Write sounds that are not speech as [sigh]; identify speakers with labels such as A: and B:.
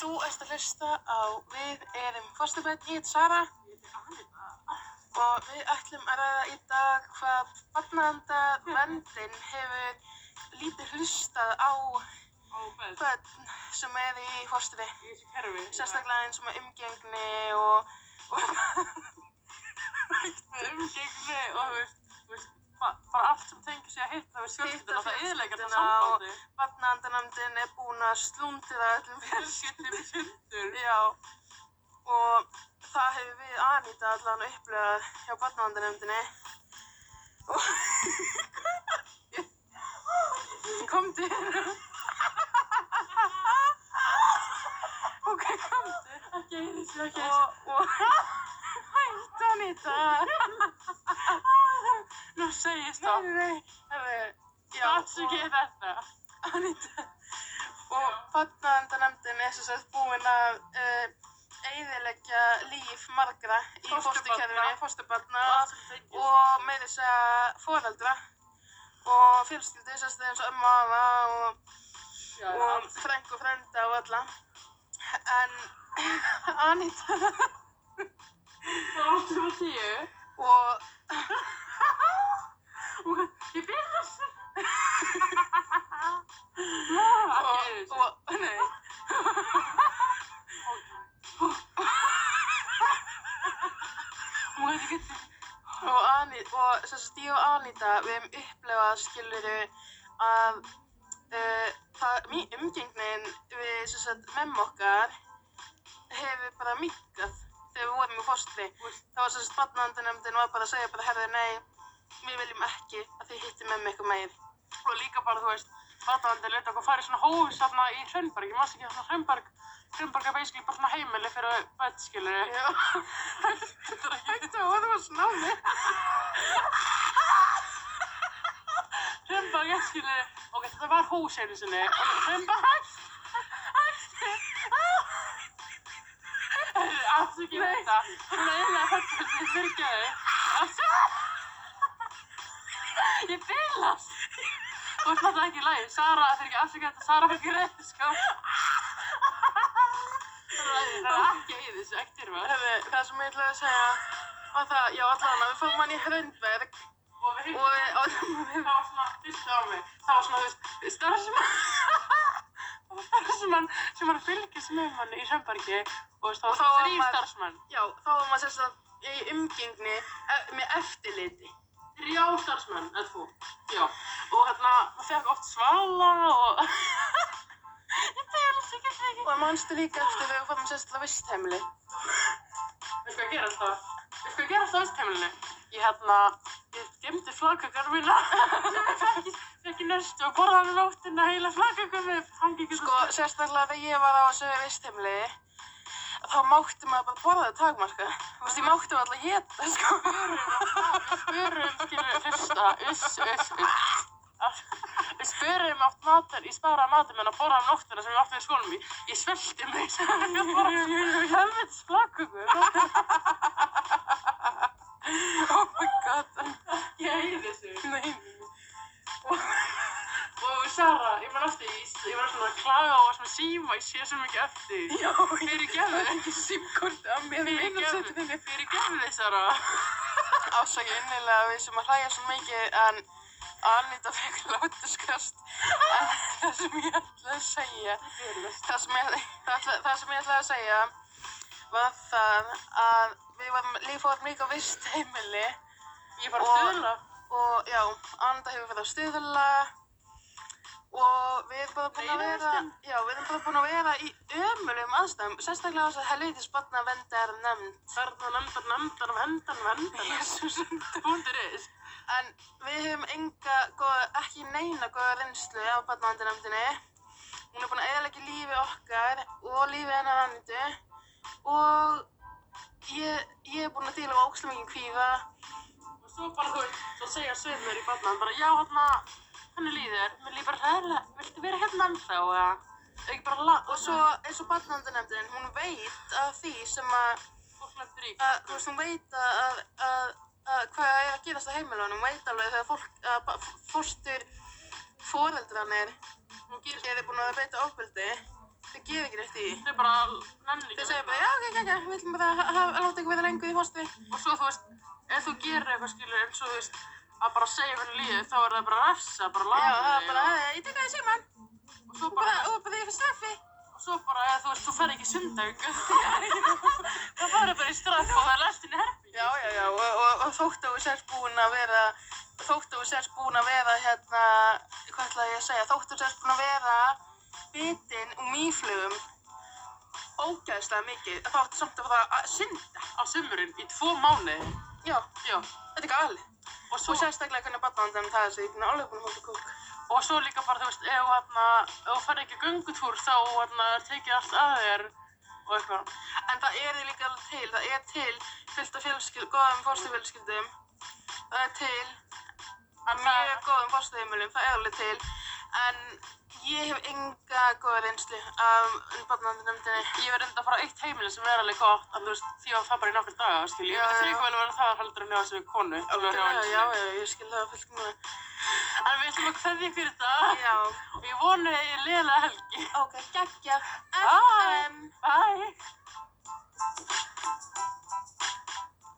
A: Þú ert að hlusta á Við erum fósturbönd, ég heit Sara og við ætlum að ræða í dag hvað barnaðanda vendin hefur lítið hlustað á
B: Óbæð,
A: börn sem er í fóstri,
B: í þessu kerfi.
A: sérstaklega eins og með umgengni og, og
B: Með umgengni og þú veist, þú veist, ba- bara allt sem tengir sig að hitta við fjölskylduna, það eðilegir þetta
A: fjölskylduna og-
B: sambandi.
A: barnaðandanamdin er búin að slúndira öllum fjölskyldum
B: Þetta er [laughs] sundur.
A: Já, og það hefur við Anita allan upplöðað hjá [laughs] barnavandarnefndinni. Og komdu hérna. ok, komdu.
B: Ekki einu sér, ekki einu
A: Og, og hætt Anita.
B: Nú segist
A: Nei,
B: það.
A: nei, nei. Herðu, já,
B: Satsugið
A: og
B: þetta.
A: Anita. Og barnavandarnefndin er svo sett búin að uh, eiðileggja líf margra í
B: Fósturbarna.
A: fósturkerfinu, fósturbarna
B: Allt sem tengist.
A: og meira þess að foreldra og fjölskyldu, sérstu eins og ömmu og afa og,
B: Já,
A: og
B: allt sem-
A: frængu og frænda og alla. En [laughs] Anita
B: Það var allt sem var tíu.
A: og
B: Og ég byrði [laughs] þessu. Ekki einu
A: og,
B: sér.
A: og nei,
B: Og þetta getur.
A: og Anita, og sérstu ég og Anita, við hefum upplefað skiluru að uh, það, mý, umgengnin við sérstu memma okkar hefur bara minkað þegar við vorum í fóstri. Það var sérst barnavandarnefndin var bara að segja bara, herðu, nei, við viljum ekki að þið hitti memmi eitthvað meir.
B: og líka bara, þú veist, barnavandi leta okkur fara í svona hófus þarna í Hrönberg, ég maður ekki þarna Hrönberg, Hrönberg er basically bara svona heimili fyrir börn, skilur ég.
A: Já,
B: Þetta er ekki,
A: þetta var það var snámi.
B: Hrönberg er skilur ég, ok, þetta var hús einu sinni, og Hrönberg, hætti, hætti, afsakið
A: Nei.
B: þetta, svona eiginlega fættið, ég fyrkjaði, afsakið, ég bilast. Þú veist náttúrulega ekki í lagi, Sara, þetta er ekki afsakið þetta, Sara fyrir ekki reyði, sko. Það er ekki í þessu, ekki er maður.
A: Herðu, það sem ég ætlaði að segja var það, já, allan að við fórum hann í Hröndberg
B: Og
A: og
B: við
A: við, og við,
B: það var svona fyrsta á mig það var svona þú veist starfsmann [laughs] það var starfsmann sem var að fylgjast með manni í Sjömbargi og þú
A: Og
B: veist, það
A: þá var
B: var þrý
A: maður-
B: starfsmann
A: já, þá var maður sérst að í umgengni e- með eftirliti.
B: þrjá starfsmann en þú já og hérna maður fekk oft svala og [laughs] ég tegja alls ekki ekki
A: Og mannstu líka eftir þegar við fórum sérst að vistheimli.
B: veistu hvað gerast það veistu hvað gerast það á vistheimilinu ég hérna ég gemdi flagkökar mína [laughs] fekk, fekk í nöstu og borðaði um nóttina heila flagkökar með hangi ekki
A: Sko, sérstaklega þegar ég var á þessu vistheimli, þá mátti maður bara borða takmarka. Þú veist, ég mátti maður alltaf hétta, sko.
B: spörum, skilur, hlusta, uss, uss, uss. Við spörum átt matur, ég sparaði matur meðan að borða um nóttina sem ég átti með skólum í. Ég svelti mig, [laughs] sem ég bara, hefðið splakugur.
A: Oh my god,
B: Ég heyri þessu.
A: nei.
B: Og Sara, ég man eftir, ég, ég var svona að klaga og var svona síma, ég sé svo mikið eftir.
A: Já,
B: Fyrir gefðu,
A: ekki símkort af mér
B: fyrir gefðu, fyrir gefðu þið, Sara.
A: Ásakið innilega við sem að hlæja svo mikið en Anita fekk látuskast en það sem ég ætlaði að segja það sem ég, það, ætla- það sem ég ætlaði að segja var það að við varum líka fórum líka á vist heimili
B: Ég var að stöðla.
A: og já, Anita hefur verið á stuðla og við erum bara búin að
B: Meira
A: vera
B: vistun.
A: já, við erum bara búin að vera í ömulegum aðstæðum sérstaklega á þess að helvitis barnavendar nefnd
B: Þarna nefndar, nefndar, vendan, vendan.
A: Jesús
B: Búndur is.
A: En við höfum enga, góða, ekki neina góða reynslu af barnavandarnefndinni. Hún er búin að eðalegja lífi okkar og lífi hennar annitu. Og ég, ég er búin að díla á ókslega mikið kvíða.
B: Og svo bara, þú veist, svo segja sömur í barnan bara, já, hérna, henni líður, mér líður bara hræðilega, viltu vera hérna ennþá, eða, eða ekki bara la,
A: Og svo eins og barnavandarnefndin, hún veit af því sem að,
B: fólk lendur í.
A: að þú veist, hún veit að, að, að, að hvað er að gerast á heimilunum. Hún veit alveg þegar fólk, að, fórstur foreldrarnir
B: Hún gerir
A: eru búin að beita ofbeldi, þau gefa ekki rétt í.
B: þetta bara nenni
A: Þau
B: ekki.
A: segja bara, já, ok, ok, ok, við ætlum bara að ha- ha- láta ykkur vera lengur í fóstri.
B: Og svo þú veist, ef þú gerir eitthvað skilur eins og þú veist að bara segja hvernig líður þá er það bara að refsa, bara
A: Já,
B: laga
A: það er bara, "Hey, ég tek að það sé mann,
B: og svo bara,
A: bara, og bara ég fyrir straffi.
B: og svo bara eða þú veist, þú fer ekki í sundag það farið bara í straff og það er læst inn í herfi
A: Já, já, já, og, og, og þótt að þú sérst búin að vera, þótt að þú sérst búin að vera, hérna, hvað ætlaði ég að segja, þótt að þú sérst búin að vera bitinn og mýflugum ógæðslega mikið, þá áttu samt að fara að synda.
B: á sumurinn í tvo mánu
A: Já,
B: já,
A: þetta er galið.
B: og
A: Og
B: svo,
A: sérstaklega hvernig barnavandarinn það er sig, ég er alveg búin að hóta kúk.
B: og svo líka bara þú veist, ef þarna, ef þú fer ekki í göngutúr þá þarna er tekið allt að þér og eitthvað
A: En það er því líka alveg til, það er til fullt af fjölskyld, góðum fórstufjölskyldum, það er til
B: en það,
A: mjög góðum fórstuheimilum, það er alveg til, en ég hef enga góða reynslu af barnaverndarnefndinni.
B: ég verði enda að fara á eitt heimili sem er alveg gott en þú veist, því að það bara í nokkur daga, skil ég
A: Já,
B: myndi
A: já.
B: þrjúkvæl að vera það heldur en hjá þessu konu alveg hjá
A: Já,
B: henni
A: já,
B: sinni.
A: já, ég skil það fullt með.
B: en við ætlum að kveðja ykkur í dag
A: Já,
B: og ég vonu að ég leila helgi
A: ok, geggja,
B: Bye.
A: FM.
B: bye